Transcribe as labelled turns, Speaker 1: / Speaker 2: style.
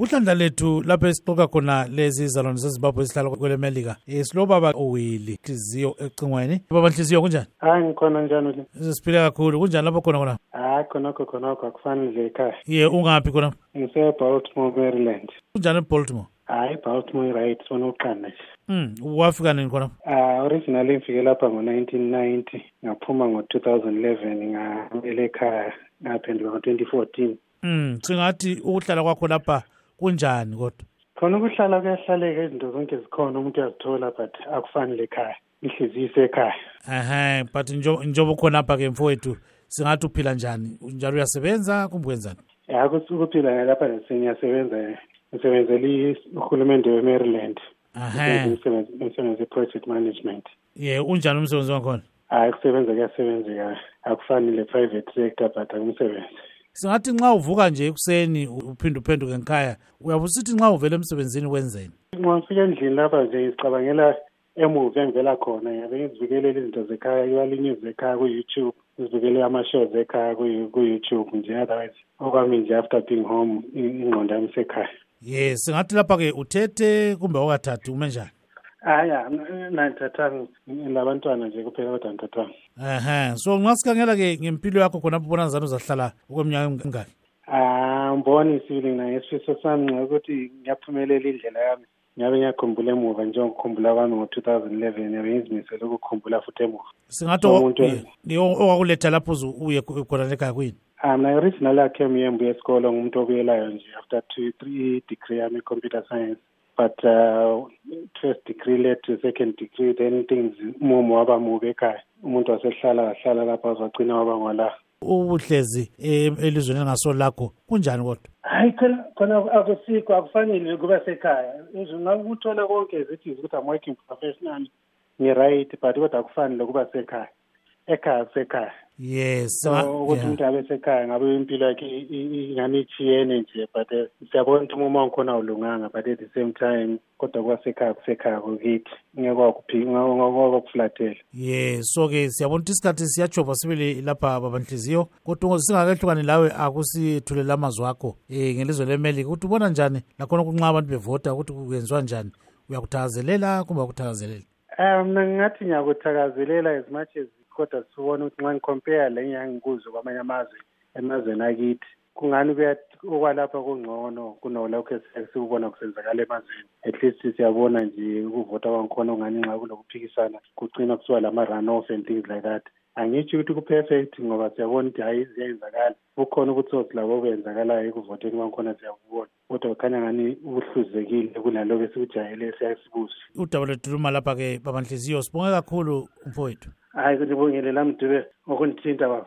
Speaker 1: Udlanda lethu lapho esixoxa khona lezi izalwane zezimbabwe ezihlala kwele melika um silobaba owili nhliziyo ecingweni baba nhliziyo kunjani
Speaker 2: hayi ngikhona njani le
Speaker 1: siphile kakhulu kunjani lapho khona khona
Speaker 2: hayi khonokho khonokho akufanele ekhaya
Speaker 1: ye ungaphi khona
Speaker 2: ngise-baltimore maryland
Speaker 1: kunjani ebaltimore
Speaker 2: hayi baltimore right sona uqanda nje
Speaker 1: um wafika nini khona
Speaker 2: Ah, originally ngifike lapha ngo-1990 ngaphuma ngo-2011 ngabuyela ekhaya ngaphenduka ngo-2014
Speaker 1: um singathi ukuhlala kwakho lapha kunjani kodwa
Speaker 2: khona ukuhlala kuyahlaleka izinto zonke zikhona umuntu uyazithola but akufanele ekhaya inhliziyo isekhaya
Speaker 1: ehe but njo- njengoba ukhona apha ke mfowethu singathi uphila njani njalo uyasebenza kumbe wenzani
Speaker 2: ya ukuphila ngalapha ngiyasebenza ngisebenzele i- uhulumende we-maryland
Speaker 1: ehe
Speaker 2: Ngisebenza- ngisebenza i-project management
Speaker 1: ye unjani umsebenzi wakhona
Speaker 2: hayi kusebenza kuyasebenzeka akufani le-private sector but akumsebenzi
Speaker 1: singathi nxa uvuka nje ekuseni u- uphinde uphenduke ngekhaya uyabe usithi nxa uvele emsebenzini wenzeni
Speaker 2: nxa ngifika endlini lapha nje ngizicabangela emuva engivela khona ngiyabe ngizivikelele izinto zekhaya iwalinye zekhaya ku-youtube ngizivikele ama-shows ekhaya ku- ku-youtube nje otherwise okwami nje after being home i- ingqondo yami isekhaya
Speaker 1: ye singathi lapha-ke uthethe kumbe awukathathi ume njani
Speaker 2: hayi nanithathanga nabantwana nje kuphela kodwa nithathanga
Speaker 1: ehe so nxa sikhangela-ke ngempilo yakho khonapho ubona zani uzahlala okweminyaka emngani
Speaker 2: Ah, mboni sibili mina ngesifiso sami nxa ukuthi ngiyaphumelela indlela yami ngiyabe ngiyakhumbula emuva njengokukhumbula kwami ngo-two thousand eleven ngiyabe ngizimisele ukukhumbula futhi emuva
Speaker 1: singathi
Speaker 2: Umuntu-
Speaker 1: owa- ye, ye, okwakuletha lapho uze uye khu- khona lekhaya kuyini
Speaker 2: Ah, mna i-original yakhe emyembu yesikolo ngumuntu obuyelayo nje after two three degree yami i-computer science but uh, first degree led to second degree then things umumo waba mubi ekhaya umuntu wasehlala wahlala lapha wazwagcina waba ngola
Speaker 1: uhlezi em- e- elizweni elingaso lakho kunjani kodwa
Speaker 2: hayi khona khona akusikho akufanele kuba sekhaya ngakuthola konke zithi ukuthi i'm working professional ngi-right but kodwa akufanele kuba sekhaya ekhaya kusekhaya
Speaker 1: yes
Speaker 2: so
Speaker 1: singa-
Speaker 2: ukuthi
Speaker 1: Ah, yeah.
Speaker 2: umuntu abe sekhaya ngabe impilo yakhe i- i- i- ingani ithiyene nje but eh, siyabona ukuthi umumo wangkhona awulunganga but at the same time kodwa kuba sekhaya kusekhaya kokithi ngekwakuphingakufulathela
Speaker 1: ye so ke siyabona ukuthi isikhathi siyajova sibili lapha babanhliziyo kodwa ungo- singakehlukani lawe akusithulela amazwi akho um ngelizwe lemelika ukuthi ubona njani lakhona kunxa abantu bevota ukuthi kwenziwa njani uyakuthakazelela kumbe akuthakazeleli
Speaker 2: um mna ngingathi ngiyakuthakazelela as much as kodwa sibone ukuthi nxa ngikompare le engangikuzo kwamanye amazwe emazweni akithi kungani kuya- okwalapha kungcono kunalokho esike sikubona kusenzakala emazweni at least siyabona nje ukuvota kwangikhona ungani nxa kulokuphikisana kugcina kusiwa lama-run off and things like that angitsho ukuthi ku-perfect ngoba siyabona ukuthi hhayi ziyayenzakala kukhona ubutsotsi labo obenzakalayo ekuvoteni kwangikhona siyakubona kodwa kukhanya ngani ubuhluzekile kunalokho esikujayele siyasibuze
Speaker 1: udaba lwethuluma lapha ke babanhliziyo sibonge kakhulu umfowethu
Speaker 2: hayi kunibongele lamdube ngokundithinta baba